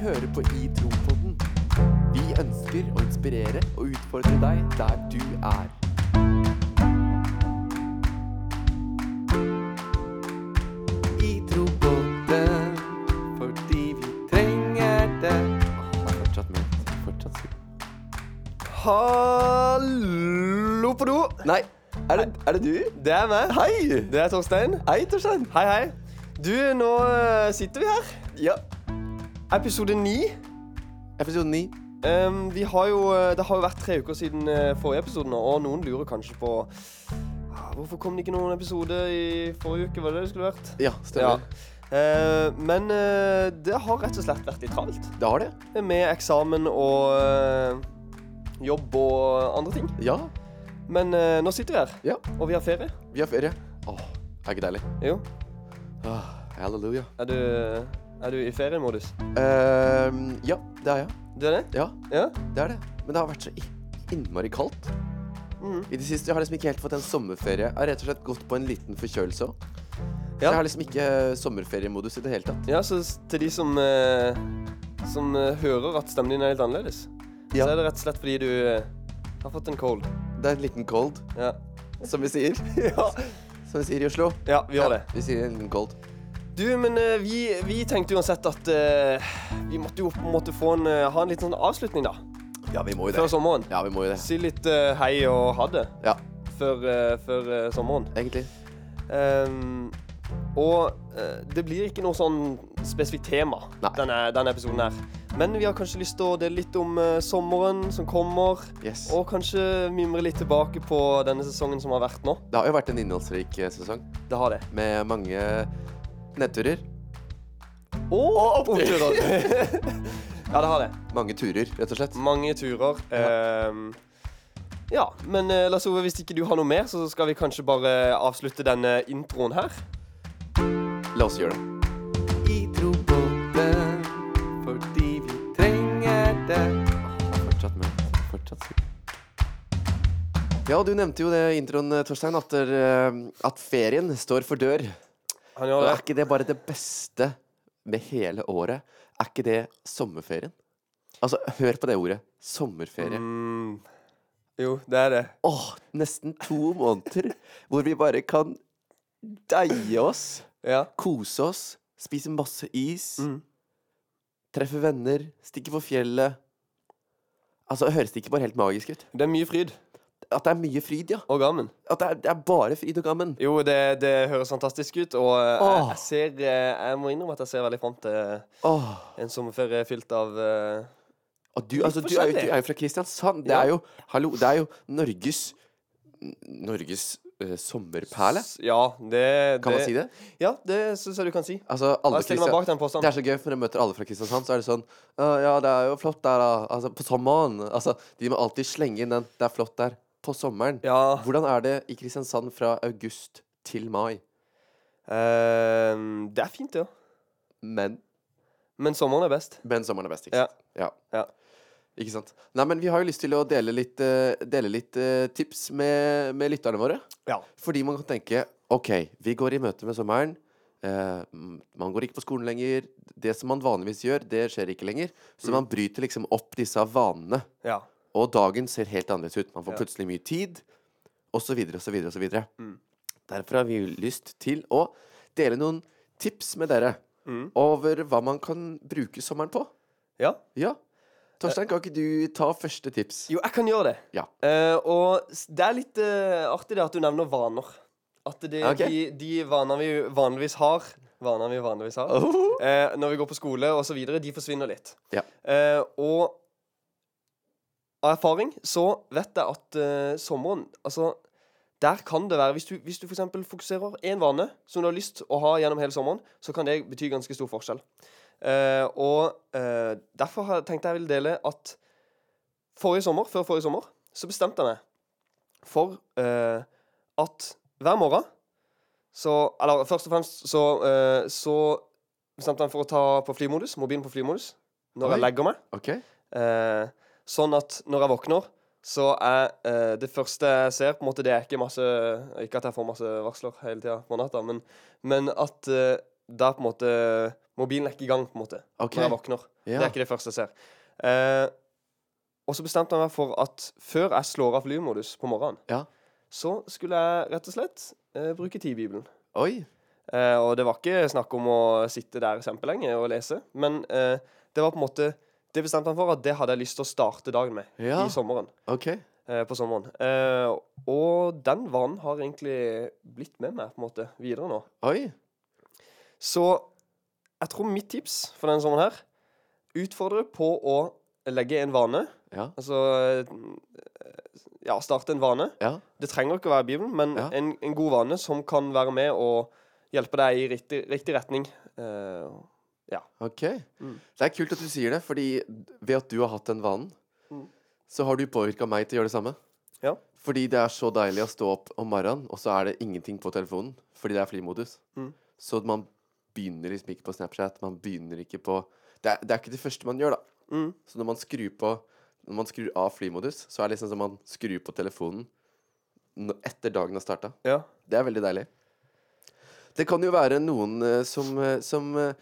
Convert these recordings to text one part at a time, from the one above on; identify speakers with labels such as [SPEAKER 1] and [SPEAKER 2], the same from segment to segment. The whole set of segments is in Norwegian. [SPEAKER 1] hører på I Tro-podden. Vi ønsker å inspirere og utfordre deg der du er. I Tro-podden, fordi vi trenger det. Åh, det er fortsatt mørkt. Fortsatt skummelt.
[SPEAKER 2] Hallo på do!
[SPEAKER 1] Nei, er det, er det du?
[SPEAKER 2] Det er meg.
[SPEAKER 1] Hei!
[SPEAKER 2] Det er Torstein.
[SPEAKER 1] Hei, Torstein.
[SPEAKER 2] Hei, hei. Du, nå eh, sitter vi her.
[SPEAKER 1] Ja,
[SPEAKER 2] Episode ni.
[SPEAKER 1] episode 9.
[SPEAKER 2] Em, vi har jo, eh, det har jo vært tre uker siden eh, forrige episode nå, og noen lurer kanskje på ah, Hvorfor kom det ikke noen episode i forrige uke? Var det det det skulle vært?
[SPEAKER 1] Ja, stemmer.
[SPEAKER 2] Eh, men eh, det har rett og slett vært litt travelt.
[SPEAKER 1] Det har det.
[SPEAKER 2] Med eksamen og eh, jobb og andre ting.
[SPEAKER 1] Ja,
[SPEAKER 2] Men eh, nå sitter vi her,
[SPEAKER 1] ja.
[SPEAKER 2] og vi har ferie.
[SPEAKER 1] Vi har ferie. Åh, er ikke deilig.
[SPEAKER 2] Jo.
[SPEAKER 1] Ah, halleluja.
[SPEAKER 2] Er du, er du i feriemodus?
[SPEAKER 1] Ehm, ja, det er jeg.
[SPEAKER 2] Du er det?
[SPEAKER 1] Ja,
[SPEAKER 2] Ja.
[SPEAKER 1] det er det. Men det har vært så i- innmari kaldt.
[SPEAKER 2] Mhm.
[SPEAKER 1] I det siste jeg har liksom ikke helt fått en sommerferie. Jeg har rett og slett gått på en liten forkjølelse òg. Så
[SPEAKER 2] Ja.
[SPEAKER 1] jeg har liksom ikke sommerferiemodus i det hele tatt.
[SPEAKER 2] Ja, så s- til de som, eh, som eh, hører at stemmen din er litt annerledes,
[SPEAKER 1] Ja.
[SPEAKER 2] så er det rett og slett fordi du eh, har fått en cold.
[SPEAKER 1] Det er en liten cold,
[SPEAKER 2] Ja.
[SPEAKER 1] som vi sier.
[SPEAKER 2] ja.
[SPEAKER 1] Som vi sier i Oslo.
[SPEAKER 2] ja, vi har det.
[SPEAKER 1] Vi sier en liten cold.
[SPEAKER 2] Du, men eh, vi, vi tenkte uansett at eh, vi måtte jo på en måte få en, eh, ha en litt sånn avslutning, da.
[SPEAKER 1] Ja, vi må jo
[SPEAKER 2] Før sommeren.
[SPEAKER 1] Ja, vi må jo det.
[SPEAKER 2] Si litt eh, hei og ha det
[SPEAKER 1] Ja,
[SPEAKER 2] før, eh, før eh, sommeren.
[SPEAKER 1] egentlig.
[SPEAKER 2] Ehm, og eh, det blir ikke noe sånn spesifikt tema,
[SPEAKER 1] Nei.
[SPEAKER 2] denne, denne episoden her. Men vi har kanskje lyst til å dele litt om eh, sommeren som kommer,
[SPEAKER 1] Yes.
[SPEAKER 2] og kanskje mimre litt tilbake på denne sesongen som har vært nå.
[SPEAKER 1] Det har jo vært en innholdsrik eh, sesong
[SPEAKER 2] Det har det.
[SPEAKER 1] med mange nedturer.
[SPEAKER 2] Og oppturer! ja, det har det.
[SPEAKER 1] Mange turer, rett og slett.
[SPEAKER 2] Mange turer. Ehm, ja, men eh, Lars Ove, hvis ikke du har noe mer, så skal vi kanskje bare avslutte denne introen her. Mm.
[SPEAKER 1] La oss gjøre det. I trobåten fordi vi trenger det. Fortsatt med. Fortsatt sikkert. Ja, du nevnte jo det i introen, eh, Torstein, at, der, eh, at ferien står for dør.
[SPEAKER 2] Han gjør
[SPEAKER 1] Og
[SPEAKER 2] det.
[SPEAKER 1] er ikke det bare det beste med hele året? Er ikke det sommerferien? Altså, hør på det ordet. Sommerferie.
[SPEAKER 2] Mm. Jo, det er det.
[SPEAKER 1] Åh, nesten to måneder hvor vi bare kan deie oss,
[SPEAKER 2] Ja.
[SPEAKER 1] kose oss, spise masse is.
[SPEAKER 2] Mm.
[SPEAKER 1] Treffe venner, stikke på fjellet. Altså, Høres det ikke bare helt magisk ut?
[SPEAKER 2] Det er mye fryd.
[SPEAKER 1] At det er mye fryd, ja.
[SPEAKER 2] Og Garmin.
[SPEAKER 1] At det er, det er bare fryd og gammen.
[SPEAKER 2] Jo, det, det høres fantastisk ut, og eh, jeg,
[SPEAKER 1] Åh.
[SPEAKER 2] jeg ser eh, Jeg må innrømme at jeg ser veldig fram til eh,
[SPEAKER 1] Åh.
[SPEAKER 2] en sommerferie fylt av eh,
[SPEAKER 1] Og du, altså, du, er jo, du er jo fra Kristiansand. Det
[SPEAKER 2] Ja.
[SPEAKER 1] er jo, hallo, det er jo Norges N- Norges eh, sommerperle.
[SPEAKER 2] s- Ja, det,
[SPEAKER 1] Kan man si det?
[SPEAKER 2] Ja, det syns jeg du kan si.
[SPEAKER 1] Altså, alle
[SPEAKER 2] Jeg stiller
[SPEAKER 1] Kristian-
[SPEAKER 2] meg bak sånn? den
[SPEAKER 1] Det
[SPEAKER 2] påstanden.
[SPEAKER 1] er så gøy, for når jeg møter alle fra Kristiansand, så er det sånn «Å, Ja, det er jo flott der, da. Altså, på sommeren. Altså, de må alltid slenge inn den. Det er flott der. På sommeren.
[SPEAKER 2] Ja.
[SPEAKER 1] Hvordan er det i Kristiansand fra august til mai?
[SPEAKER 2] ehm, det er fint, det ja.
[SPEAKER 1] Men
[SPEAKER 2] Men sommeren er best.
[SPEAKER 1] Men sommeren er best, ikke
[SPEAKER 2] Ja.
[SPEAKER 1] sant? Ja.
[SPEAKER 2] Ja.
[SPEAKER 1] Ikke sant? Nei, men vi har jo lyst til å dele litt, eh, dele litt eh, tips med, med lytterne våre.
[SPEAKER 2] Ja.
[SPEAKER 1] Fordi man kan tenke OK, vi går i møte med sommeren. eh, m- man går ikke på skolen lenger. Det som man vanligvis gjør, det skjer ikke lenger.
[SPEAKER 2] Mm.
[SPEAKER 1] Så man bryter liksom opp disse vanene.
[SPEAKER 2] ja.
[SPEAKER 1] Og dagen ser helt annerledes ut. Man får
[SPEAKER 2] Ja.
[SPEAKER 1] plutselig mye tid, og så videre, og så videre, og så videre.
[SPEAKER 2] Mm.
[SPEAKER 1] Derfor har vi jo lyst til å dele noen tips med dere
[SPEAKER 2] Mm.
[SPEAKER 1] over hva man kan bruke sommeren på.
[SPEAKER 2] ja.
[SPEAKER 1] Ja. Torstein, kan ikke du ta første tips?
[SPEAKER 2] Eh. Jo, jeg kan gjøre det.
[SPEAKER 1] Ja.
[SPEAKER 2] Eh, og s- det er litt eh, artig det at du nevner vaner. At det,
[SPEAKER 1] Ok.
[SPEAKER 2] de, de vaner vi vanligvis har Vaner vi vanligvis har
[SPEAKER 1] Oh.
[SPEAKER 2] eh, når vi går på skole og så videre, de forsvinner litt.
[SPEAKER 1] Ja.
[SPEAKER 2] Eh, og av erfaring så vet jeg at eh, sommeren Altså, der kan det være Hvis du, hvis du f.eks. fokuserer én vane som du har lyst å ha gjennom hele sommeren, så kan det bety ganske stor forskjell. Eh, og eh, derfor har jeg tenkt jeg vil dele at forrige sommer, før forrige sommer, så bestemte jeg meg for eh, at hver morgen så Eller først og fremst så, eh, så bestemte jeg meg for å ta på flymodus, mobilen på flymodus når jeg
[SPEAKER 1] Oi.
[SPEAKER 2] legger meg.
[SPEAKER 1] OK.
[SPEAKER 2] Eh, sånn at når jeg våkner, så er eh, det første jeg ser, på en måte, det er ikke masse Ikke at jeg får masse varsler hele tida på natta, men, men at eh, der på en måte Mobilen er ikke i gang, på en måte,
[SPEAKER 1] OK.
[SPEAKER 2] når jeg våkner. Det
[SPEAKER 1] Ja.
[SPEAKER 2] er ikke det første jeg ser. Eh, og så bestemte jeg meg for at før jeg slår av flyvemodus på morgenen,
[SPEAKER 1] Ja.
[SPEAKER 2] så skulle jeg rett og slett eh, bruke tidbibelen.
[SPEAKER 1] Oi.
[SPEAKER 2] Eh, og det var ikke snakk om å sitte der kjempelenge og lese, men eh, det var på en måte Det bestemte jeg meg for at det hadde jeg lyst til å starte dagen med
[SPEAKER 1] Ja.
[SPEAKER 2] i sommeren.
[SPEAKER 1] OK.
[SPEAKER 2] eh, på sommeren. Eh, og den vanen har egentlig blitt med meg på en måte videre nå.
[SPEAKER 1] Oi.
[SPEAKER 2] Så jeg tror mitt tips for denne sommeren her Utfordre på å legge en vane.
[SPEAKER 1] Ja.
[SPEAKER 2] Altså eh, Ja, starte en vane.
[SPEAKER 1] Ja.
[SPEAKER 2] Det trenger ikke å være Bibelen, men
[SPEAKER 1] Ja.
[SPEAKER 2] en, en god vane som kan være med og hjelpe deg i riktig, riktig retning. Eh,
[SPEAKER 1] OK.
[SPEAKER 2] Mm.
[SPEAKER 1] Det er kult at du sier det, fordi ved at du har hatt den vanen,
[SPEAKER 2] Mm.
[SPEAKER 1] så har du påvirka meg til å gjøre det samme.
[SPEAKER 2] Ja.
[SPEAKER 1] Fordi det er så deilig å stå opp om morgenen, og så er det ingenting på telefonen fordi det er flymodus.
[SPEAKER 2] Mm.
[SPEAKER 1] Så man begynner liksom ikke på Snapchat. Man begynner ikke på det er, det er ikke det første man gjør, da.
[SPEAKER 2] mm,
[SPEAKER 1] Så når man skrur på Når man skrur av flymodus, så er det liksom som man skrur på telefonen n- etter dagen har starta.
[SPEAKER 2] ja.
[SPEAKER 1] Det er veldig deilig. Det kan jo være noen eh, som, eh, som, eh,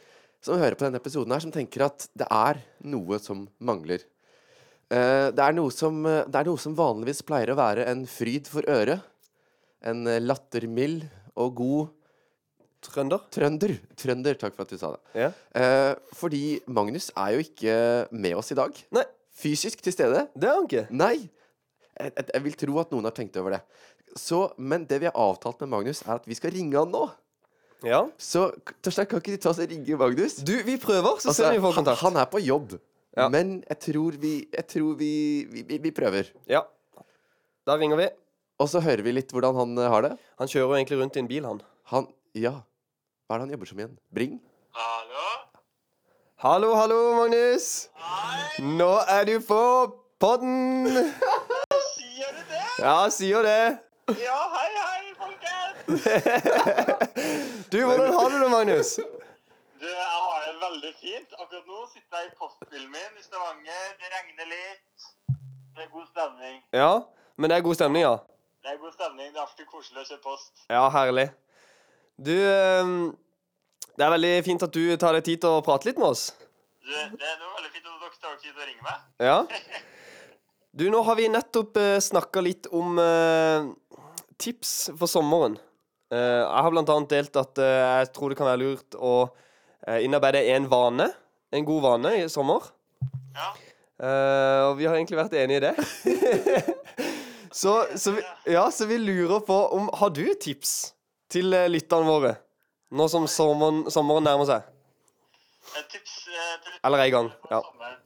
[SPEAKER 1] som hører på denne episoden her, som tenker at det er noe som mangler. Eh, Det er noe som, eh, det er noe som vanligvis pleier å være en fryd for øret. En eh, lattermild og god
[SPEAKER 2] Trønder.
[SPEAKER 1] trønder. Trønder, takk for at du sa det.
[SPEAKER 2] Ja.
[SPEAKER 1] Eh, Fordi Magnus er jo ikke med oss i dag.
[SPEAKER 2] Nei.
[SPEAKER 1] Fysisk til stede.
[SPEAKER 2] Det er han ikke.
[SPEAKER 1] Nei! Jeg, jeg, jeg vil tro at noen har tenkt over det. Så, men det vi har avtalt med Magnus, er at vi skal ringe han nå.
[SPEAKER 2] Ja.
[SPEAKER 1] Så k- Torstein, kan ikke du ta oss og ringe Magnus?
[SPEAKER 2] Du, vi prøver, så
[SPEAKER 1] Altså,
[SPEAKER 2] ser vi om vi får
[SPEAKER 1] han,
[SPEAKER 2] kontakt.
[SPEAKER 1] han er på jobb,
[SPEAKER 2] Ja.
[SPEAKER 1] men jeg tror, vi, jeg tror vi, vi, vi, vi prøver.
[SPEAKER 2] Ja. Da ringer vi.
[SPEAKER 1] Og så hører vi litt hvordan han eh, har det.
[SPEAKER 2] Han kjører jo egentlig rundt i en bil, han.
[SPEAKER 1] Han Ja. Hva er det han jobber som igjen? Bring?
[SPEAKER 3] Hallo?
[SPEAKER 2] Hallo, hallo, Magnus.
[SPEAKER 3] Hei,
[SPEAKER 2] Nå er du på podden.
[SPEAKER 3] sier du det?
[SPEAKER 2] Ja, sier det.
[SPEAKER 3] Ja, hei, hei, folkens!
[SPEAKER 2] Du, hvordan har du det, Magnus?
[SPEAKER 3] Du, jeg har det veldig fint. Akkurat nå sitter jeg i postbilen min i Stavanger. Det regner litt. Det er god stemning.
[SPEAKER 2] Ja, men det er god stemning, ja.
[SPEAKER 3] Det er god stemning. Det er alltid koselig å kjøre post.
[SPEAKER 2] Ja, herlig. Du, ehm, det er veldig fint at du tar deg tid til å prate litt med oss.
[SPEAKER 3] Du, det, det er veldig fint at dere tar dere tid til å ringe meg.
[SPEAKER 2] Ja. Du, nå har vi nettopp uh, snakka litt om eh, tips for sommeren. Eh, jeg har blant annet delt at eh, jeg tror det kan være lurt å eh, innarbeide en vane, en god vane, i sommer.
[SPEAKER 3] Ja,
[SPEAKER 2] Eh, og vi har egentlig vært enige i det. så, så, vi, ja, så vi lurer på om Har du et tips til eh, lytterne våre nå som sommeren, sommeren nærmer seg?
[SPEAKER 3] et tips eh, til lytterne
[SPEAKER 2] Eller er i gang,
[SPEAKER 3] for
[SPEAKER 2] ja.
[SPEAKER 3] sommeren.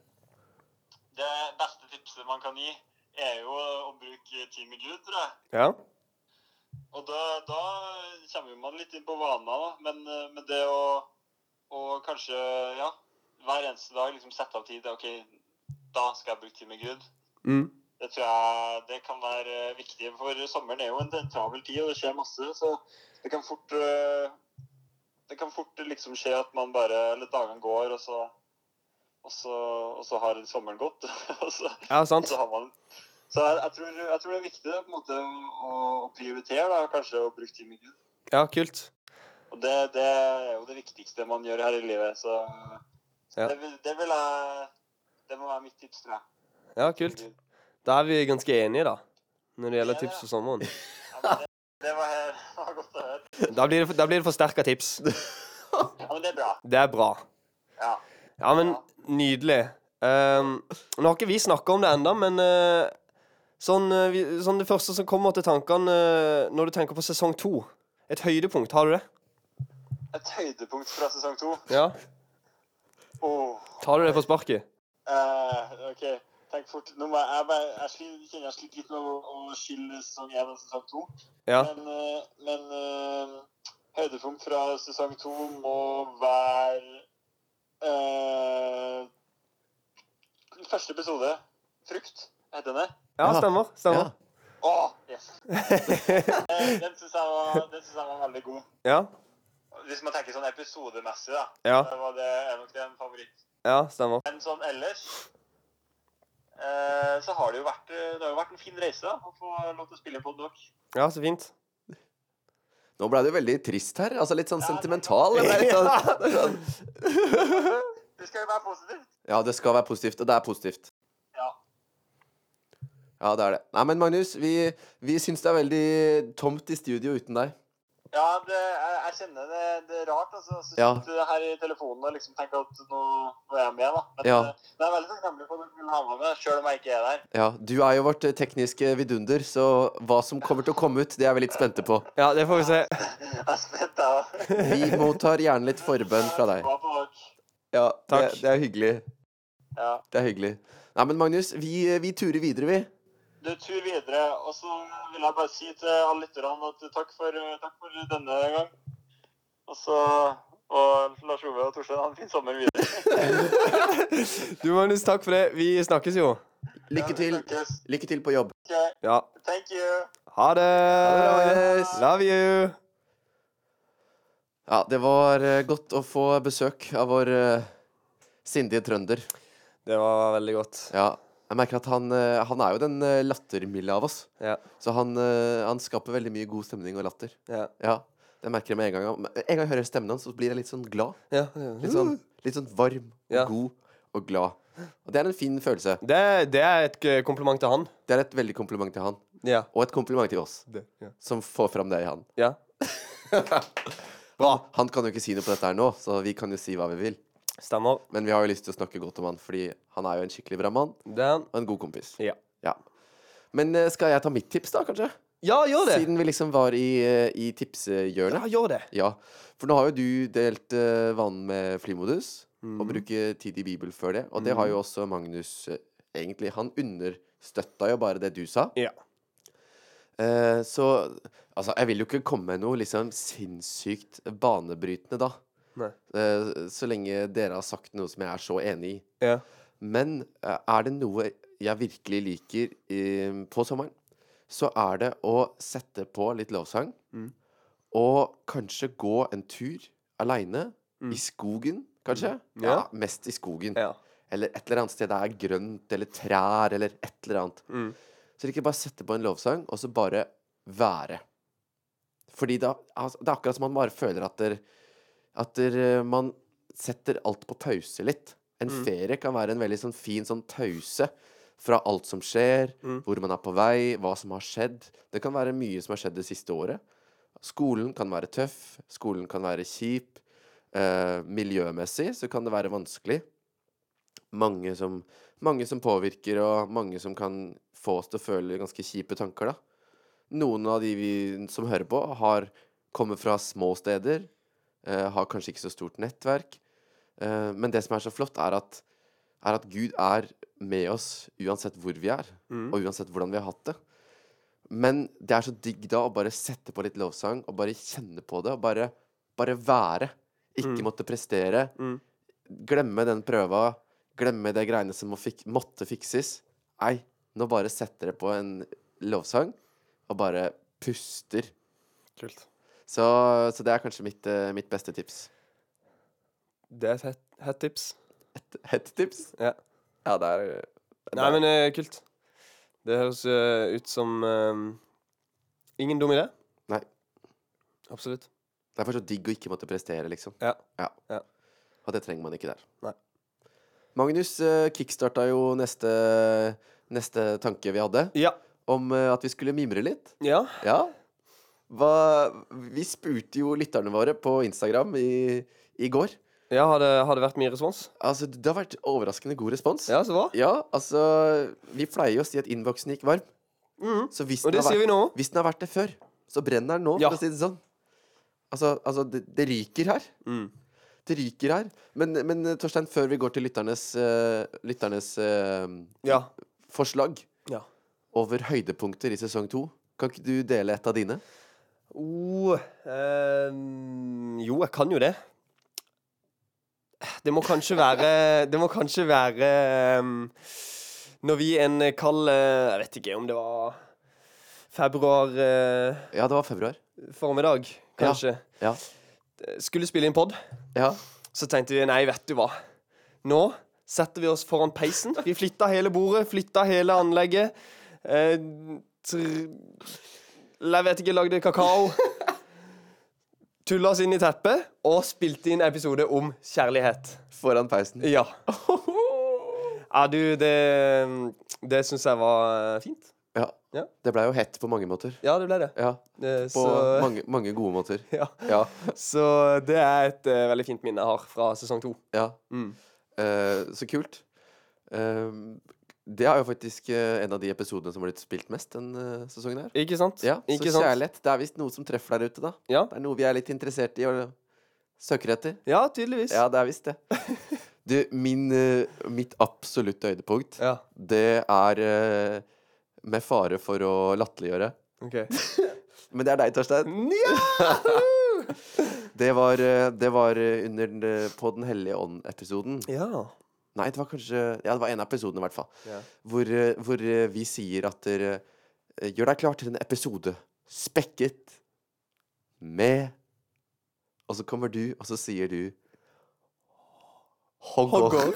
[SPEAKER 3] Det beste tipset man kan gi, er jo å bruke tid med Gud, tror jeg.
[SPEAKER 2] Ja.
[SPEAKER 3] Og da, da kommer man litt inn på vaner, da. Men, eh, men det å, å kanskje, ja, hver eneste dag liksom sette av tid OK, da skal jeg bruke tid med Gud.
[SPEAKER 2] Mm.
[SPEAKER 3] Det tror jeg det kan være eh, viktig, for sommeren er jo en, en travel tid, og det skjer masse. Så det kan fort eh, Det kan fort liksom skje at man bare Eller dagene går, og så Og så, og så har sommeren gått. og så
[SPEAKER 2] ja, sant?
[SPEAKER 3] så har man Så jeg, jeg, tror, jeg tror det er viktig da, på en måte å, å prioritere, da, kanskje, å bruke tid med Gud.
[SPEAKER 2] Ja, kult.
[SPEAKER 3] Og det, det er jo det viktigste man gjør her i livet, så, så
[SPEAKER 2] Ja.
[SPEAKER 3] det, vil- det vil jeg Det må være mitt tips, tror jeg.
[SPEAKER 2] Ja, kult. Da er vi ganske enige, da. Når det gjelder tips for sommeren.
[SPEAKER 3] Ja, men det, det, var, det var godt å høre.
[SPEAKER 2] Da blir det, da blir det forsterka tips.
[SPEAKER 3] Ja, men det er bra.
[SPEAKER 2] Det er bra.
[SPEAKER 3] Ja.
[SPEAKER 2] Ja, men nydelig. Ehm, nå har ikke vi snakka om det ennå, men eh, sånn, eh, vi, sånn det første som kommer til tankene eh, når du tenker på sesong to Et høydepunkt, har du det?
[SPEAKER 3] Et høydepunkt fra sesong to.
[SPEAKER 2] Ja?
[SPEAKER 3] Åh,
[SPEAKER 2] Tar du det på sparket?
[SPEAKER 3] eh, OK, tenk fort. Nå må jeg, jeg, bare, jeg sliter- kjenner jeg sliter litt med å, å skille sesong én og sesong to.
[SPEAKER 2] Ja.
[SPEAKER 3] Men, eh, men eh, høydepunkt fra sesong to må være eh, den Første episode, 'Frukt', heter den det?
[SPEAKER 2] Ja,
[SPEAKER 1] Ja.
[SPEAKER 2] stemmer.
[SPEAKER 1] Ja.
[SPEAKER 2] stemmer.
[SPEAKER 3] Å, yes! Eh, den syns jeg, var- den synes jeg var veldig god.
[SPEAKER 2] Ja.
[SPEAKER 3] Hvis man tenker sånn episodemessig, da.
[SPEAKER 2] Ja,
[SPEAKER 3] Det, var, det er nok det en favoritt.
[SPEAKER 2] ja stemmer.
[SPEAKER 3] Men sånn ellers eh, så har det jo vært, eh, det har jo vært en fin reise da, å få lov til å spille på dere.
[SPEAKER 2] Ja, så fint.
[SPEAKER 1] Nå ble det jo veldig trist her. Altså litt sånn
[SPEAKER 3] Ja, det-
[SPEAKER 1] sentimental. Jeg ble litt sånn-
[SPEAKER 3] Det skal jo være positivt.
[SPEAKER 1] Ja, det skal være positivt, og det er positivt.
[SPEAKER 3] Ja.
[SPEAKER 1] Ja, det er det. Nei, men Magnus, vi, vi syns det er veldig tomt i studio uten deg.
[SPEAKER 3] Ja, det, jeg, jeg kjenner det, det er rart. altså. Så
[SPEAKER 1] Ja.
[SPEAKER 3] sitter jeg her i telefonen og liksom tenker at nå, nå er jeg med, da. Men
[SPEAKER 1] Ja.
[SPEAKER 3] eh, men jeg er veldig takknemlig for at du ville ha meg med, sjøl om jeg ikke er der.
[SPEAKER 1] Ja, Du er jo vårt eh, tekniske vidunder, så hva som kommer til å komme ut, det er vi litt spente på.
[SPEAKER 2] Ja, det får vi se.
[SPEAKER 3] Jeg er eh, spent, jeg òg.
[SPEAKER 1] Vi mottar gjerne litt forbønn fra deg. Ja,
[SPEAKER 2] Takk.
[SPEAKER 1] Det, det er hyggelig.
[SPEAKER 3] Ja.
[SPEAKER 1] Det er hyggelig. Nei, men Magnus, vi, vi turer videre, vi.
[SPEAKER 3] Du, tur videre. Og så vil jeg bare si til alle lytterne at takk for, eh, takk for denne gang. Og så Og Lars Ove og Torstein, ha en fin sommer videre.
[SPEAKER 2] Du, Magnus, takk for det. Vi snakkes jo.
[SPEAKER 1] Lykke til.
[SPEAKER 3] Snakkes.
[SPEAKER 1] Lykke til på jobb.
[SPEAKER 3] Okay.
[SPEAKER 2] Ja.
[SPEAKER 3] Thank you.
[SPEAKER 2] Ha det.
[SPEAKER 1] Magnus.
[SPEAKER 2] Love you.
[SPEAKER 1] Ja, det var eh, godt å få besøk av vår eh, sindige trønder.
[SPEAKER 2] Det var veldig godt.
[SPEAKER 1] Ja, jeg merker at han, eh, han er jo den eh, lattermilde av oss.
[SPEAKER 2] Ja.
[SPEAKER 1] Så han, eh, han skaper veldig mye god stemning og latter.
[SPEAKER 2] Ja.
[SPEAKER 1] Ja, det merker jeg med en gang. Med En gang jeg hører stemmen hans, så blir jeg litt sånn glad.
[SPEAKER 2] ja.
[SPEAKER 1] Litt sånn, litt sånn varm og
[SPEAKER 2] Ja.
[SPEAKER 1] god og glad. Og det er en fin følelse.
[SPEAKER 2] Det, det er et eh, kompliment til han.
[SPEAKER 1] Det er et veldig kompliment til han.
[SPEAKER 2] Ja.
[SPEAKER 1] Og et kompliment til oss,
[SPEAKER 2] Det, ja.
[SPEAKER 1] som får fram det i han.
[SPEAKER 2] ja. Bra.
[SPEAKER 1] Han kan jo ikke si noe på dette her nå, så vi kan jo si hva vi vil.
[SPEAKER 2] Stemmer.
[SPEAKER 1] Men vi har jo lyst til å snakke godt om han, fordi han er jo en skikkelig bra mann
[SPEAKER 2] Det er han.
[SPEAKER 1] og en god kompis.
[SPEAKER 2] Ja.
[SPEAKER 1] Ja. Men eh, skal jeg ta mitt tips, da, kanskje?
[SPEAKER 2] Ja, gjør det.
[SPEAKER 1] Siden vi liksom var i, eh, i
[SPEAKER 2] Ja,
[SPEAKER 1] tipshjørnet.
[SPEAKER 2] gjør det.
[SPEAKER 1] Ja. For nå har jo du delt eh, vanen med flymodus, og bruker tid i Bibel før det. Og det har jo også Magnus eh, egentlig. Han understøtta jo bare det du sa.
[SPEAKER 2] Ja.
[SPEAKER 1] Eh, så Altså, jeg vil jo ikke komme med noe liksom sinnssykt banebrytende, da.
[SPEAKER 2] Nei.
[SPEAKER 1] Eh, så lenge dere har sagt noe som jeg er så enig i.
[SPEAKER 2] Ja.
[SPEAKER 1] Men eh, er det noe jeg virkelig liker i, på sommeren, så er det å sette på litt lovsang.
[SPEAKER 2] Mm.
[SPEAKER 1] Og kanskje gå en tur aleine.
[SPEAKER 2] Mm.
[SPEAKER 1] I skogen, kanskje?
[SPEAKER 2] Mm.
[SPEAKER 1] Ja.
[SPEAKER 2] Ja.
[SPEAKER 1] mest i skogen.
[SPEAKER 2] Ja.
[SPEAKER 1] Eller et eller annet sted det er grønt, eller trær, eller et eller annet.
[SPEAKER 2] Mm.
[SPEAKER 1] Så ikke bare sette på en lovsang, og så bare være. Fordi da altså, Det er akkurat som man bare føler at der, At der, eh, man setter alt på pause litt. En
[SPEAKER 2] Mm.
[SPEAKER 1] ferie kan være en veldig sånn fin sånn pause fra alt som skjer,
[SPEAKER 2] Mm.
[SPEAKER 1] hvor man er på vei, hva som har skjedd. Det kan være mye som har skjedd det siste året. Skolen kan være tøff, skolen kan være kjip. Eh, miljømessig så kan det være vanskelig. Mange som, mange som påvirker, og mange som kan få oss til å føle ganske kjipe tanker, da. Noen av de vi som hører på, har kommer fra små steder, eh, har kanskje ikke så stort nettverk. Eh, men det som er så flott, er at, er at Gud er med oss uansett hvor vi er,
[SPEAKER 2] Mm.
[SPEAKER 1] og uansett hvordan vi har hatt det. Men det er så digg da å bare sette på litt lovsang, og bare kjenne på det, og bare, bare være. Ikke
[SPEAKER 2] Mm.
[SPEAKER 1] måtte prestere.
[SPEAKER 2] Mm.
[SPEAKER 1] Glemme den prøva, glemme de greiene som må fik måtte fikses. Nei, nå bare setter dere på en lovsang, og bare puster.
[SPEAKER 2] Kult.
[SPEAKER 1] Så, så det er kanskje mitt, eh, mitt beste tips.
[SPEAKER 2] Det er et hett, hett tips.
[SPEAKER 1] Hett tips?
[SPEAKER 2] Ja.
[SPEAKER 1] Ja, det er
[SPEAKER 2] Nei, men eh, kult. Det høres eh, ut som eh, ingen dum idé.
[SPEAKER 1] Nei.
[SPEAKER 2] Absolutt.
[SPEAKER 1] Det er for så digg å ikke måtte prestere, liksom.
[SPEAKER 2] Ja. Ja.
[SPEAKER 1] Og det trenger man ikke der.
[SPEAKER 2] Nei.
[SPEAKER 1] Magnus eh, kickstarta jo neste, neste tanke vi hadde,
[SPEAKER 2] Ja.
[SPEAKER 1] om eh, at vi skulle mimre litt.
[SPEAKER 2] Ja.
[SPEAKER 1] Ja. Hva, vi spurte jo lytterne våre på Instagram i, i går.
[SPEAKER 2] ja har, det, har det vært mye respons?
[SPEAKER 1] Altså, det har vært overraskende god respons.
[SPEAKER 2] Ja, så bra.
[SPEAKER 1] Ja, altså Vi pleier jo å si at innboksen gikk varm.
[SPEAKER 2] Mhm.
[SPEAKER 1] Så hvis
[SPEAKER 2] Og
[SPEAKER 1] den
[SPEAKER 2] det
[SPEAKER 1] har vært
[SPEAKER 2] sier vi nå.
[SPEAKER 1] Hvis den har vært det før, så brenner den nå,
[SPEAKER 2] Ja.
[SPEAKER 1] for å si det sånn. Altså, altså det, det ryker her.
[SPEAKER 2] Mm.
[SPEAKER 1] Det ryker her. Men, men eh, Torstein, før vi går til lytternes, eh, lytternes eh,
[SPEAKER 2] Ja.
[SPEAKER 1] forslag
[SPEAKER 2] Ja.
[SPEAKER 1] over høydepunkter i sesong to, kan ikke du dele et av dine?
[SPEAKER 2] Oh, ehm, jo, jeg kan jo det. Det må kanskje være Det må kanskje være ehm, Når vi en kald eh, Jeg vet ikke om det var februar eh,
[SPEAKER 1] Ja, det var februar.
[SPEAKER 2] formiddag, kanskje.
[SPEAKER 1] Ja.
[SPEAKER 2] Skulle spille inn pod,
[SPEAKER 1] Ja.
[SPEAKER 2] så tenkte vi nei, vet du hva. Nå setter vi oss foran peisen. Vi flytta hele bordet, flytta hele anlegget. Eh, tr jeg vet ikke, lagde kakao. tulla oss inn i teppet og spilte inn episode om kjærlighet.
[SPEAKER 1] Foran peisen.
[SPEAKER 2] Ja. Ja, du, det, det syns jeg var eh, fint.
[SPEAKER 1] Ja.
[SPEAKER 2] Ja.
[SPEAKER 1] Det blei jo hett på mange måter.
[SPEAKER 2] Ja, det ble det.
[SPEAKER 1] Ja.
[SPEAKER 2] Eh,
[SPEAKER 1] På
[SPEAKER 2] så-
[SPEAKER 1] mange, mange gode måter.
[SPEAKER 2] Ja.
[SPEAKER 1] Ja.
[SPEAKER 2] Så det er et eh, veldig fint minne jeg har fra sesong to.
[SPEAKER 1] ja.
[SPEAKER 2] Mm.
[SPEAKER 1] Eh, så kult. Ehm, det er jo faktisk eh, en av de episodene som har blitt spilt mest den eh, sesongen her.
[SPEAKER 2] Ikke sant?
[SPEAKER 1] Ja,
[SPEAKER 2] ikke
[SPEAKER 1] Så
[SPEAKER 2] sant?
[SPEAKER 1] kjærlighet. Det er visst noe som treffer der ute, da.
[SPEAKER 2] Ja.
[SPEAKER 1] Det er noe vi er litt interessert i og søker etter.
[SPEAKER 2] Ja, tydeligvis.
[SPEAKER 1] Ja, det er visst det. Du, min, eh, mitt absolutte høydepunkt,
[SPEAKER 2] Ja,
[SPEAKER 1] det er eh, med fare for å latterliggjøre.
[SPEAKER 2] OK.
[SPEAKER 1] Men det er deg, Torstein.
[SPEAKER 2] Nja!
[SPEAKER 1] Det var, eh, det var eh, under den, eh, På den hellige ånd-episoden.
[SPEAKER 2] Ja.
[SPEAKER 1] Nei, det var kanskje Ja, det var en av episodene, i hvert fall.
[SPEAKER 2] Ja.
[SPEAKER 1] Hvor, eh, hvor eh, vi sier at dere eh, Gjør deg klar til en episode spekket med Og så kommer du, og så sier du Hogger.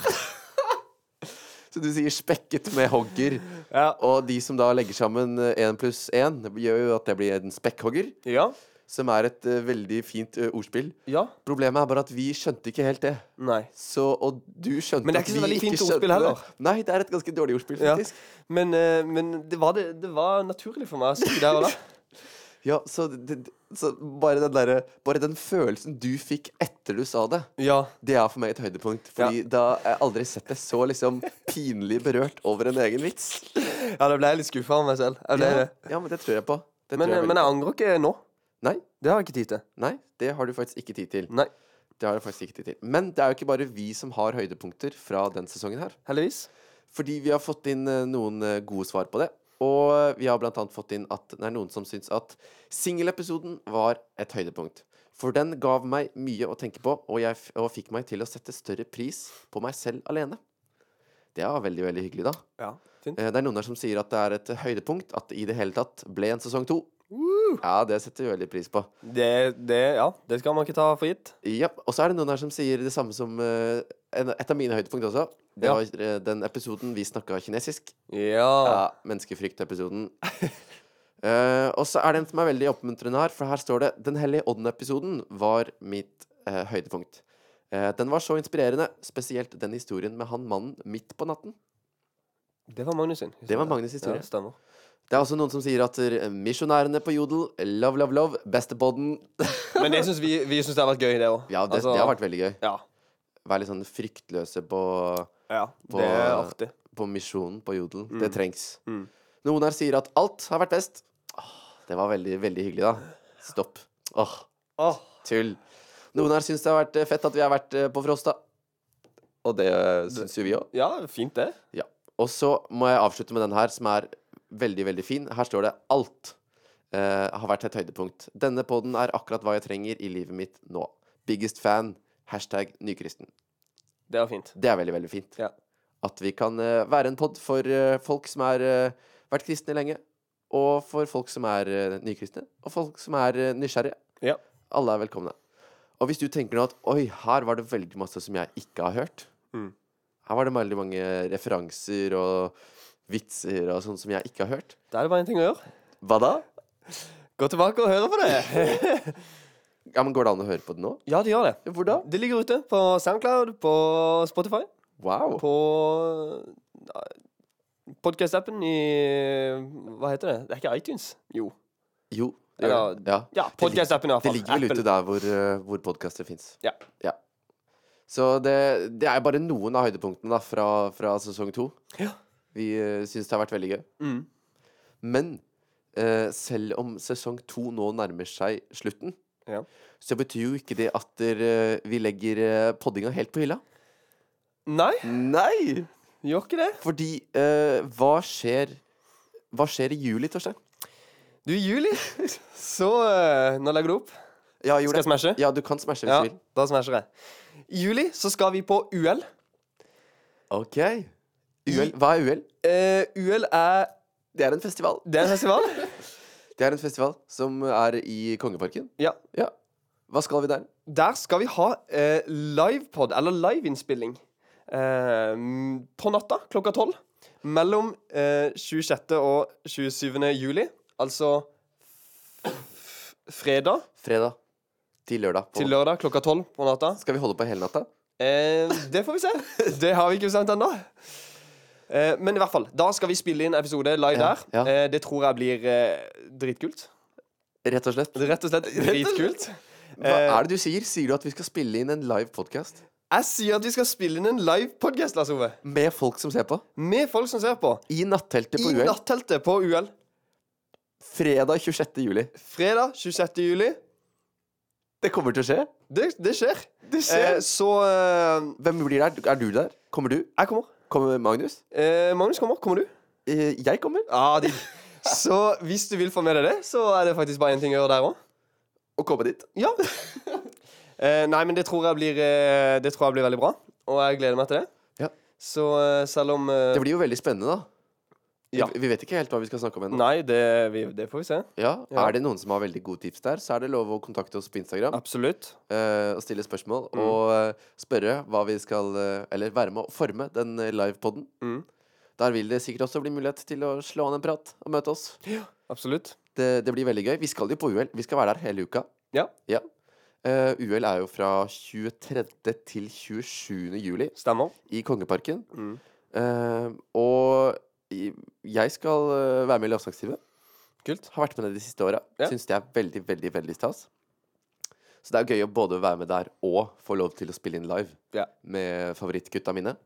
[SPEAKER 1] så du sier 'spekket med hogger'.
[SPEAKER 2] Ja.
[SPEAKER 1] Og de som da legger sammen én pluss én, gjør jo at det blir en spekkhogger.
[SPEAKER 2] ja.
[SPEAKER 1] Som er et eh, veldig fint eh, ordspill.
[SPEAKER 2] Ja.
[SPEAKER 1] Problemet er bare at vi skjønte ikke helt det.
[SPEAKER 2] Nei.
[SPEAKER 1] Så, og du skjønte
[SPEAKER 2] Men det er
[SPEAKER 1] at
[SPEAKER 2] ikke så
[SPEAKER 1] vi
[SPEAKER 2] veldig fint
[SPEAKER 1] skjønte
[SPEAKER 2] ordspill heller.
[SPEAKER 1] Det. Nei, det er et ganske dårlig ordspill,
[SPEAKER 2] Ja.
[SPEAKER 1] faktisk.
[SPEAKER 2] Men, eh, men det, var det, det var naturlig for meg å si der og da.
[SPEAKER 1] Ja, så, det, det- så bare, den derre- bare den følelsen du fikk etter du sa det,
[SPEAKER 2] Ja.
[SPEAKER 1] det er for meg et høydepunkt. Fordi da har jeg aldri sett deg så liksom pinlig berørt over en egen vits.
[SPEAKER 2] ja, da ble jeg litt skuffa av meg selv. Jeg ble
[SPEAKER 1] Ja,
[SPEAKER 2] det.
[SPEAKER 1] ja men det tror jeg på. Det
[SPEAKER 2] Men,
[SPEAKER 1] tror
[SPEAKER 2] jeg
[SPEAKER 1] jeg
[SPEAKER 2] men
[SPEAKER 1] veldig
[SPEAKER 2] jeg angrer ikke nå.
[SPEAKER 1] på. Nei,
[SPEAKER 2] Det har jeg ikke tid til.
[SPEAKER 1] nei, det har du faktisk ikke tid til.
[SPEAKER 2] Nei.
[SPEAKER 1] Det har du faktisk ikke tid til. Men det er jo ikke bare vi som har høydepunkter fra den sesongen her.
[SPEAKER 2] Heldigvis.
[SPEAKER 1] Fordi vi har fått inn eh, noen eh, gode svar på det. Og eh, vi har blant annet fått inn at det er noen som syns at singelepisoden var et høydepunkt. For den gav meg mye å tenke på, og, jeg f og fikk meg til å sette større pris på meg selv alene. Det var veldig, veldig hyggelig, da.
[SPEAKER 2] Ja. Fint.
[SPEAKER 1] Eh, Det er noen her som sier at det er et høydepunkt at det i det hele tatt ble en sesong to. Ja, det setter vi veldig pris på.
[SPEAKER 2] Det, det, ja, det skal man ikke ta for gitt.
[SPEAKER 1] Ja, og så er det noen her som sier det samme som eh, en- et av mine høydepunkt også. Det
[SPEAKER 2] Ja.
[SPEAKER 1] var eh, den episoden vi snakka kinesisk.
[SPEAKER 2] Ja.
[SPEAKER 1] Ja, menneskefrykt-episoden. Eh, og så er det en som er veldig oppmuntrende her, for her står det Den hellige ånd-episoden var mitt eh, høydepunkt. Eh, den var så inspirerende, spesielt den historien med han mannen midt på natten.
[SPEAKER 2] Det var Magnus sin.
[SPEAKER 1] Det var Magnus' historie.
[SPEAKER 2] Ja, stemmer.
[SPEAKER 1] Det er også noen som sier at eh, misjonærene på Jodel, love, love, love, bestepodden
[SPEAKER 2] Men det syns vi, vi synes det har vært gøy, det òg.
[SPEAKER 1] Ja, det, det har vært veldig gøy.
[SPEAKER 2] Ja.
[SPEAKER 1] Være litt sånn fryktløse på,
[SPEAKER 2] ja.
[SPEAKER 1] På-
[SPEAKER 2] Det er artig.
[SPEAKER 1] på misjonen på Jodel. Det trengs.
[SPEAKER 2] Mm.
[SPEAKER 1] Noen her sier at alt har vært best. Åh, det var veldig, veldig hyggelig, da. Stopp. Åh
[SPEAKER 2] Åh,
[SPEAKER 1] Tull. Noen her syns det har vært eh, fett at vi har vært eh, på Frosta. Og det syns jo vi òg.
[SPEAKER 2] ja, fint, det.
[SPEAKER 1] Ja. Og så må jeg avslutte med den her, som er veldig, veldig fin. Her står det 'alt' eh, har vært et høydepunkt. Denne podden er akkurat hva jeg trenger i livet mitt nå. Biggest fan. Hashtag nykristen.
[SPEAKER 2] Det var fint.
[SPEAKER 1] Det er veldig, veldig fint.
[SPEAKER 2] Ja.
[SPEAKER 1] At vi kan eh, være en pod for eh, folk som har vært kristne lenge, og for folk som er eh, nykristne, og folk som er eh, nysgjerrige.
[SPEAKER 2] Ja.
[SPEAKER 1] Alle er velkomne. Og hvis du tenker nå at oi, her var det veldig masse som jeg ikke har hørt.
[SPEAKER 2] Mm.
[SPEAKER 1] Her var det veldig mange referanser og vitser og sånn som jeg ikke har hørt.
[SPEAKER 2] Da er det bare én ting å gjøre.
[SPEAKER 1] Hva da?
[SPEAKER 2] Gå tilbake og høre på det.
[SPEAKER 1] Ja, men Går det an å høre på det nå?
[SPEAKER 2] ja, det gjør det.
[SPEAKER 1] Hvor da?
[SPEAKER 2] Det ligger ute på Soundcloud, på Spotify,
[SPEAKER 1] Wow.
[SPEAKER 2] på podkast-appen i Hva heter det? Det er ikke iTunes? Jo.
[SPEAKER 1] Jo. Det, gjør det. ja.
[SPEAKER 2] Ja, podkast-appen,
[SPEAKER 1] det
[SPEAKER 2] iallfall.
[SPEAKER 1] ligger vel ute der hvor, eh, hvor podkaster fins.
[SPEAKER 2] Ja.
[SPEAKER 1] Ja. Så det, det er bare noen av høydepunktene da, fra, fra sesong to.
[SPEAKER 2] Ja.
[SPEAKER 1] Vi uh, syns det har vært veldig gøy.
[SPEAKER 2] Mm.
[SPEAKER 1] Men eh, selv om sesong to nå nærmer seg slutten,
[SPEAKER 2] Ja.
[SPEAKER 1] så betyr jo ikke det at der, eh, vi legger eh, poddinga helt på hylla.
[SPEAKER 2] Nei,
[SPEAKER 1] Nei!
[SPEAKER 2] gjør ikke det.
[SPEAKER 1] Fordi eh, hva skjer Hva skjer i juli, Torstein?
[SPEAKER 2] Du, i juli, så eh, Nå legger du opp.
[SPEAKER 1] Ja,
[SPEAKER 2] Skal jeg smashe?
[SPEAKER 1] Ja, du kan smashe hvis
[SPEAKER 2] Ja,
[SPEAKER 1] du vil.
[SPEAKER 2] da smasher jeg. I juli så skal vi på UL.
[SPEAKER 1] OK. UL. Hva er UL?
[SPEAKER 2] Eh, UL er
[SPEAKER 1] Det er en festival.
[SPEAKER 2] Det er en festival.
[SPEAKER 1] Det er en festival som er i Kongeparken.
[SPEAKER 2] ja.
[SPEAKER 1] Ja. Hva skal vi der?
[SPEAKER 2] Der skal vi ha eh, livepod, eller liveinnspilling, eh, på natta klokka tolv. Mellom eh, 26. og 27. juli, altså f- fredag
[SPEAKER 1] Fredag. Til lørdag. På.
[SPEAKER 2] Til lørdag klokka tolv på natta.
[SPEAKER 1] Skal vi holde på hele natta?
[SPEAKER 2] Eh, det får vi se. Det har vi ikke bestemt ennå. Eh, men i hvert fall, da skal vi spille inn episode live
[SPEAKER 1] Ja,
[SPEAKER 2] der.
[SPEAKER 1] ja.
[SPEAKER 2] Eh, det tror jeg blir eh, dritkult.
[SPEAKER 1] Rett og slett.
[SPEAKER 2] Rett og slett dritkult.
[SPEAKER 1] Hva
[SPEAKER 2] Eh.
[SPEAKER 1] er det du sier? Sier du at vi skal spille inn en live podkast
[SPEAKER 2] Jeg sier at vi skal spille inn en live podcast, Lars Ove.
[SPEAKER 1] med folk som ser på?
[SPEAKER 2] Med folk som ser på.
[SPEAKER 1] I natteltet på
[SPEAKER 2] I
[SPEAKER 1] UL
[SPEAKER 2] natteltet på UL.
[SPEAKER 1] fredag 26. juli.
[SPEAKER 2] Fredag 26. juli.
[SPEAKER 1] Det kommer til å skje.
[SPEAKER 2] Det, det skjer.
[SPEAKER 1] skjer.
[SPEAKER 2] Eh, så eh,
[SPEAKER 1] Hvem blir der? Er du der? Kommer du?
[SPEAKER 2] jeg kommer.
[SPEAKER 1] Kommer Magnus?
[SPEAKER 2] Eh, Magnus kommer. Kommer du?
[SPEAKER 1] Eh, Jeg kommer.
[SPEAKER 2] Ja, digg. Så hvis du vil få med deg det, så er det faktisk bare én ting å gjøre der òg.
[SPEAKER 1] Og komme dit.
[SPEAKER 2] Ja. Eh, nei, men det tror, jeg blir, eh, det tror jeg blir veldig bra, og jeg gleder meg til det.
[SPEAKER 1] Ja.
[SPEAKER 2] Så eh, selv om eh,
[SPEAKER 1] Det blir jo veldig spennende, da. Vi-
[SPEAKER 2] Ja.
[SPEAKER 1] Vi vet ikke helt hva vi skal snakke om ennå.
[SPEAKER 2] Nei, det, vi, det får vi se.
[SPEAKER 1] Ja.
[SPEAKER 2] Ja.
[SPEAKER 1] Er det noen som har veldig gode tips der, så er det lov å kontakte oss på Instagram
[SPEAKER 2] Absolutt.
[SPEAKER 1] eh, og stille spørsmål.
[SPEAKER 2] Mm.
[SPEAKER 1] Og eh, spørre hva vi skal eh, Eller være med å forme den eh, livepoden.
[SPEAKER 2] Mm.
[SPEAKER 1] Der vil det sikkert også bli mulighet til å slå an en prat og møte oss.
[SPEAKER 2] Absolutt.
[SPEAKER 1] Det, det blir veldig gøy. Vi skal jo på UL. Vi skal være der hele uka.
[SPEAKER 2] Ja.
[SPEAKER 1] Eh, UL er jo fra 23. til 27. juli
[SPEAKER 2] Stemmer.
[SPEAKER 1] i Kongeparken.
[SPEAKER 2] Mm.
[SPEAKER 1] Eh, og i- jeg skal eh, være med i Lovsangstimen.
[SPEAKER 2] Kult.
[SPEAKER 1] Har vært med det de siste åra.
[SPEAKER 2] Ja.
[SPEAKER 1] Syns det er veldig, veldig veldig stas. Så det er gøy å både være med der og få lov til å spille inn live
[SPEAKER 2] Ja.
[SPEAKER 1] med favorittgutta mine.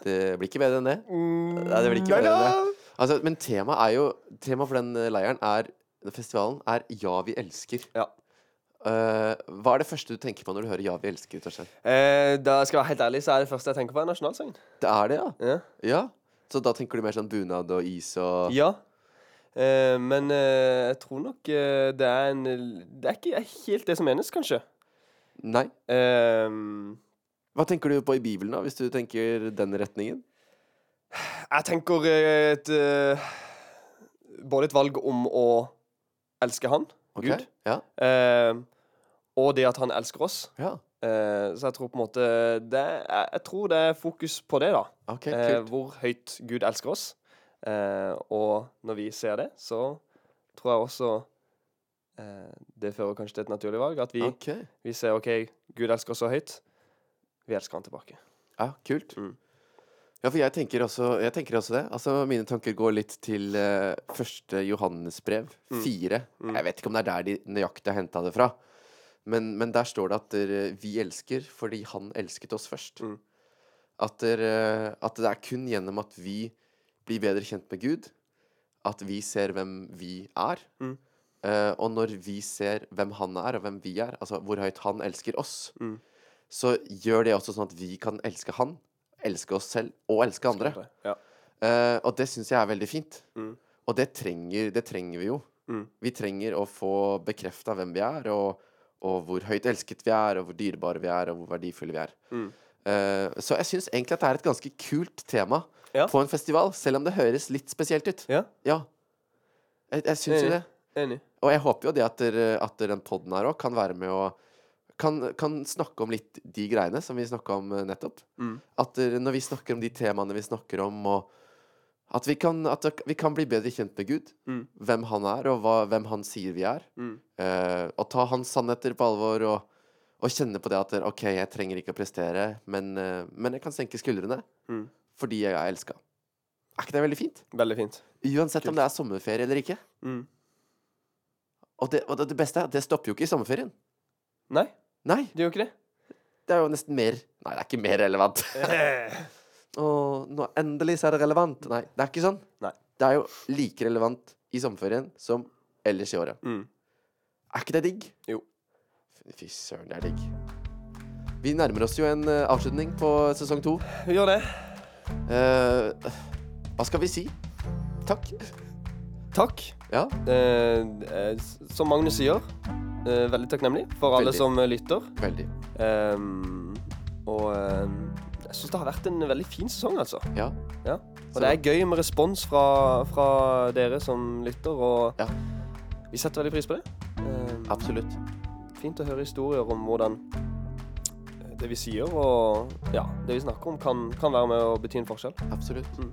[SPEAKER 1] Det blir ikke bedre enn det.
[SPEAKER 2] Nei,
[SPEAKER 1] Nei, det blir ikke bedre enn det. Altså, men temaet er jo Temaet for den eh, leiren er den Festivalen er Ja, vi elsker.
[SPEAKER 2] Ja.
[SPEAKER 1] Eh, hva er det første du tenker på når du hører Ja, vi elsker? Torstein?
[SPEAKER 2] Eh, da skal jeg være helt ærlig, så er det første jeg tenker på, er nasjonalsangen.
[SPEAKER 1] Det er det, ja.
[SPEAKER 2] Ja.
[SPEAKER 1] ja? Så da tenker du mer sånn bunad og is og
[SPEAKER 2] Ja. Eh, men eh, jeg tror nok eh, det er en Det er ikke helt det som menes, kanskje.
[SPEAKER 1] Nei.
[SPEAKER 2] Eh,
[SPEAKER 1] Hva tenker du på i Bibelen, da, hvis du tenker den retningen?
[SPEAKER 2] jeg tenker eh, et eh, Både et valg om å elske han,
[SPEAKER 1] Ok?
[SPEAKER 2] Gud,
[SPEAKER 1] Ja.
[SPEAKER 2] eh, og det at han elsker oss.
[SPEAKER 1] ja.
[SPEAKER 2] Eh, så jeg tror på en måte det, jeg, jeg tror det er fokus på det, da.
[SPEAKER 1] Ok,
[SPEAKER 2] Eh,
[SPEAKER 1] kult.
[SPEAKER 2] hvor høyt Gud elsker oss. Eh, og når vi ser det, så tror jeg også eh, Det fører kanskje til et naturlig valg. At vi,
[SPEAKER 1] Ok.
[SPEAKER 2] vi ser OK, Gud elsker oss så høyt. Vi elsker han tilbake.
[SPEAKER 1] Ja, kult.
[SPEAKER 2] Mm.
[SPEAKER 1] Ja, for jeg tenker også, jeg tenker også det. Altså, mine tanker går litt til eh, første Johannesbrev,
[SPEAKER 2] Mm.
[SPEAKER 1] fire. Jeg vet ikke om det er der de nøyaktig har henta det fra. Men, men der står det at eh, vi elsker fordi han elsket oss først.
[SPEAKER 2] Mm.
[SPEAKER 1] At, der, eh, at det er kun gjennom at vi blir bedre kjent med Gud, at vi ser hvem vi er.
[SPEAKER 2] Mm.
[SPEAKER 1] Eh, og når vi ser hvem han er, og hvem vi er, altså hvor høyt han elsker oss,
[SPEAKER 2] Mm.
[SPEAKER 1] så gjør det også sånn at vi kan elske han, elske oss selv og elske andre.
[SPEAKER 2] Ja.
[SPEAKER 1] Eh, og det syns jeg er veldig fint.
[SPEAKER 2] Mm.
[SPEAKER 1] Og det trenger, det trenger vi jo.
[SPEAKER 2] Mm.
[SPEAKER 1] Vi trenger å få bekrefta hvem vi er, og, og hvor høyt elsket vi er, og hvor dyrebare vi er, og hvor verdifulle vi er.
[SPEAKER 2] Mm.
[SPEAKER 1] Eh, så jeg syns egentlig at det er et ganske kult tema
[SPEAKER 2] Ja.
[SPEAKER 1] på en festival, selv om det høres litt spesielt ut.
[SPEAKER 2] Ja.
[SPEAKER 1] Jeg, jeg syns jo
[SPEAKER 2] Enig.
[SPEAKER 1] det.
[SPEAKER 2] Enig.
[SPEAKER 1] Og jeg håper jo det at, dere- at den podden her òg kan være med å kan, kan snakke om litt de greiene som vi snakka om eh, nettopp.
[SPEAKER 2] Mm.
[SPEAKER 1] At dere- når vi snakker om de temaene vi snakker om, og at vi kan, at dere- vi kan bli bedre kjent med Gud.
[SPEAKER 2] Mm.
[SPEAKER 1] Hvem han er, og hva, hvem han sier vi er.
[SPEAKER 2] Mm.
[SPEAKER 1] Eh, og ta hans sannheter på alvor, og, og kjenne på det at eh, OK, jeg trenger ikke å prestere, men, eh, men jeg kan senke skuldrene
[SPEAKER 2] Mm.
[SPEAKER 1] fordi jeg er elska. Er ikke det veldig fint?
[SPEAKER 2] Veldig fint.
[SPEAKER 1] Uansett
[SPEAKER 2] Kult.
[SPEAKER 1] om det er sommerferie eller ikke.
[SPEAKER 2] Mm.
[SPEAKER 1] Og det, og det- det beste er at det stopper jo ikke i sommerferien.
[SPEAKER 2] Nei,
[SPEAKER 1] Nei,
[SPEAKER 2] det gjør ikke det.
[SPEAKER 1] det er jo nesten mer Nei, det er ikke mer relevant. Og nå endelig så er det relevant. Nei, det er ikke sånn.
[SPEAKER 2] Nei.
[SPEAKER 1] Det er jo like relevant i sommerferien som ellers i året.
[SPEAKER 2] Mm.
[SPEAKER 1] Er ikke det digg?
[SPEAKER 2] Jo.
[SPEAKER 1] Fy søren, det er digg. Vi nærmer oss jo en eh, avslutning på sesong to.
[SPEAKER 2] Vi gjør det.
[SPEAKER 1] Eh, hva skal vi si? Takk.
[SPEAKER 2] Takk.
[SPEAKER 1] Ja,
[SPEAKER 2] Eh, eh, s- som Magnus sier, eh, veldig takknemlig for alle
[SPEAKER 1] Veldig.
[SPEAKER 2] som eh, lytter.
[SPEAKER 1] veldig.
[SPEAKER 2] Ehm, og ehm, jeg syns det har vært en veldig fin sesong, altså.
[SPEAKER 1] Ja.
[SPEAKER 2] Ja.
[SPEAKER 1] Så
[SPEAKER 2] Og det er gøy med respons fra, fra dere som lytter, og
[SPEAKER 1] Ja.
[SPEAKER 2] vi setter veldig pris på det. Ehm,
[SPEAKER 1] Absolutt.
[SPEAKER 2] Fint å høre historier om hvordan eh, det vi sier og ja, det vi snakker om, kan, kan være med å bety en forskjell.
[SPEAKER 1] Absolutt.
[SPEAKER 2] Mm.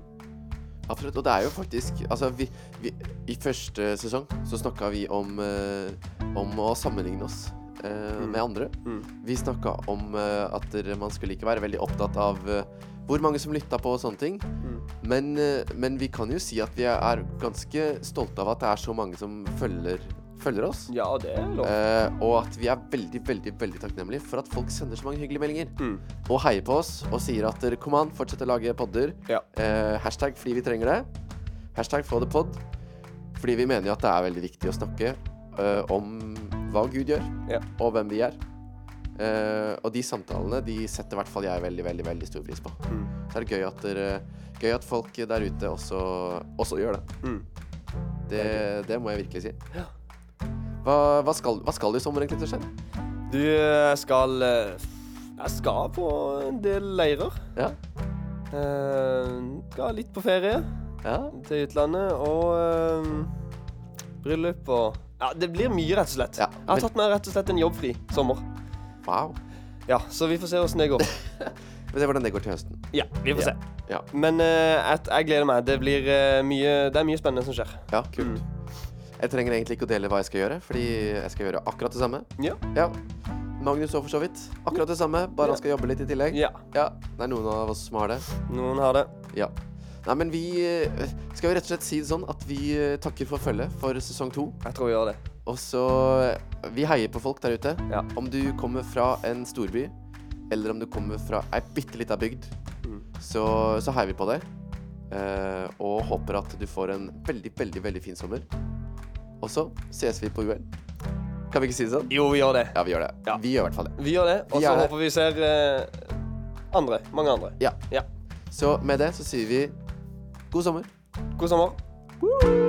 [SPEAKER 1] Absolutt. Og det er jo faktisk Altså, vi, vi I første sesong så snakka vi om eh, Om å sammenligne oss eh,
[SPEAKER 2] Mm.
[SPEAKER 1] med andre.
[SPEAKER 2] Mm.
[SPEAKER 1] Vi snakka om eh, at dere- man skulle ikke være veldig opptatt av eh, hvor mange som lytta på og sånne ting.
[SPEAKER 2] Mm.
[SPEAKER 1] Men, eh, men vi kan jo si at vi er ganske stolte av at det er så mange som følger, følger oss.
[SPEAKER 2] Ja, det er lov.
[SPEAKER 1] Eh, og at vi er veldig veldig, veldig takknemlige for at folk sender så mange hyggelige meldinger.
[SPEAKER 2] Mm.
[SPEAKER 1] Og heier på oss og sier at dere kom an, fortsett å lage podder.
[SPEAKER 2] Ja.
[SPEAKER 1] Eh, hashtag fordi vi trenger det. Hashtag få det pod. Fordi vi mener jo at det er veldig viktig å snakke eh, om hva Gud gjør,
[SPEAKER 2] Ja.
[SPEAKER 1] og hvem vi er. Eh, og de samtalene de setter i hvert fall jeg veldig veldig, veldig stor pris på.
[SPEAKER 2] Mm.
[SPEAKER 1] Så er det gøy at, dere, gøy at folk der ute også, også gjør det.
[SPEAKER 2] Mm.
[SPEAKER 1] det. Det må jeg virkelig si.
[SPEAKER 2] Ja.
[SPEAKER 1] Hva, hva, skal, hva skal du i sommer egentlig til Skien?
[SPEAKER 2] Du, jeg skal eh, Jeg skal på en del leirer.
[SPEAKER 1] Ja.
[SPEAKER 2] Eh, skal litt på ferie
[SPEAKER 1] Ja.
[SPEAKER 2] til utlandet og eh, bryllup og Ja, det blir mye, rett og slett.
[SPEAKER 1] Ja,
[SPEAKER 2] Jeg har
[SPEAKER 1] men-
[SPEAKER 2] tatt meg rett og slett en jobbfri sommer.
[SPEAKER 1] Wow.
[SPEAKER 2] Ja, Så vi får se åssen det går.
[SPEAKER 1] Men det er hvordan det går til høsten.
[SPEAKER 2] Ja, vi får
[SPEAKER 1] Ja.
[SPEAKER 2] se.
[SPEAKER 1] Ja.
[SPEAKER 2] Men eh, jeg, jeg gleder meg. Det, blir, eh, mye, det er mye spennende som skjer.
[SPEAKER 1] Ja,
[SPEAKER 2] Mm.
[SPEAKER 1] kult. Jeg trenger egentlig ikke å dele hva jeg skal gjøre, fordi jeg skal gjøre akkurat det samme.
[SPEAKER 2] Ja.
[SPEAKER 1] Ja. Magnus òg, for så vidt. Akkurat det samme, bare han skal jobbe litt i tillegg.
[SPEAKER 2] ja.
[SPEAKER 1] Ja. Det er noen av oss som har det.
[SPEAKER 2] Noen har det.
[SPEAKER 1] Ja. Nei, men vi eh, skal jo rett og slett si det sånn at vi eh, takker for følget for sesong to.
[SPEAKER 2] Jeg tror vi gjør det.
[SPEAKER 1] Og så eh, Vi heier på folk der ute.
[SPEAKER 2] Ja.
[SPEAKER 1] Om du kommer fra en storby, eller om du kommer fra ei bitte lita bygd,
[SPEAKER 2] Mm.
[SPEAKER 1] så, så heier vi på deg. Eh, og håper at du får en veldig, veldig, veldig fin sommer. Og så ses vi på UL. Kan vi ikke si det sånn?
[SPEAKER 2] Jo, vi gjør det.
[SPEAKER 1] Ja, vi gjør det.
[SPEAKER 2] Ja.
[SPEAKER 1] Vi gjør i hvert fall det.
[SPEAKER 2] Vi gjør det, og
[SPEAKER 1] Vi
[SPEAKER 2] så
[SPEAKER 1] er her.
[SPEAKER 2] håper vi ser eh, andre. Mange andre.
[SPEAKER 1] Ja.
[SPEAKER 2] Ja.
[SPEAKER 1] Så med det så sier vi god sommer.
[SPEAKER 2] God sommer.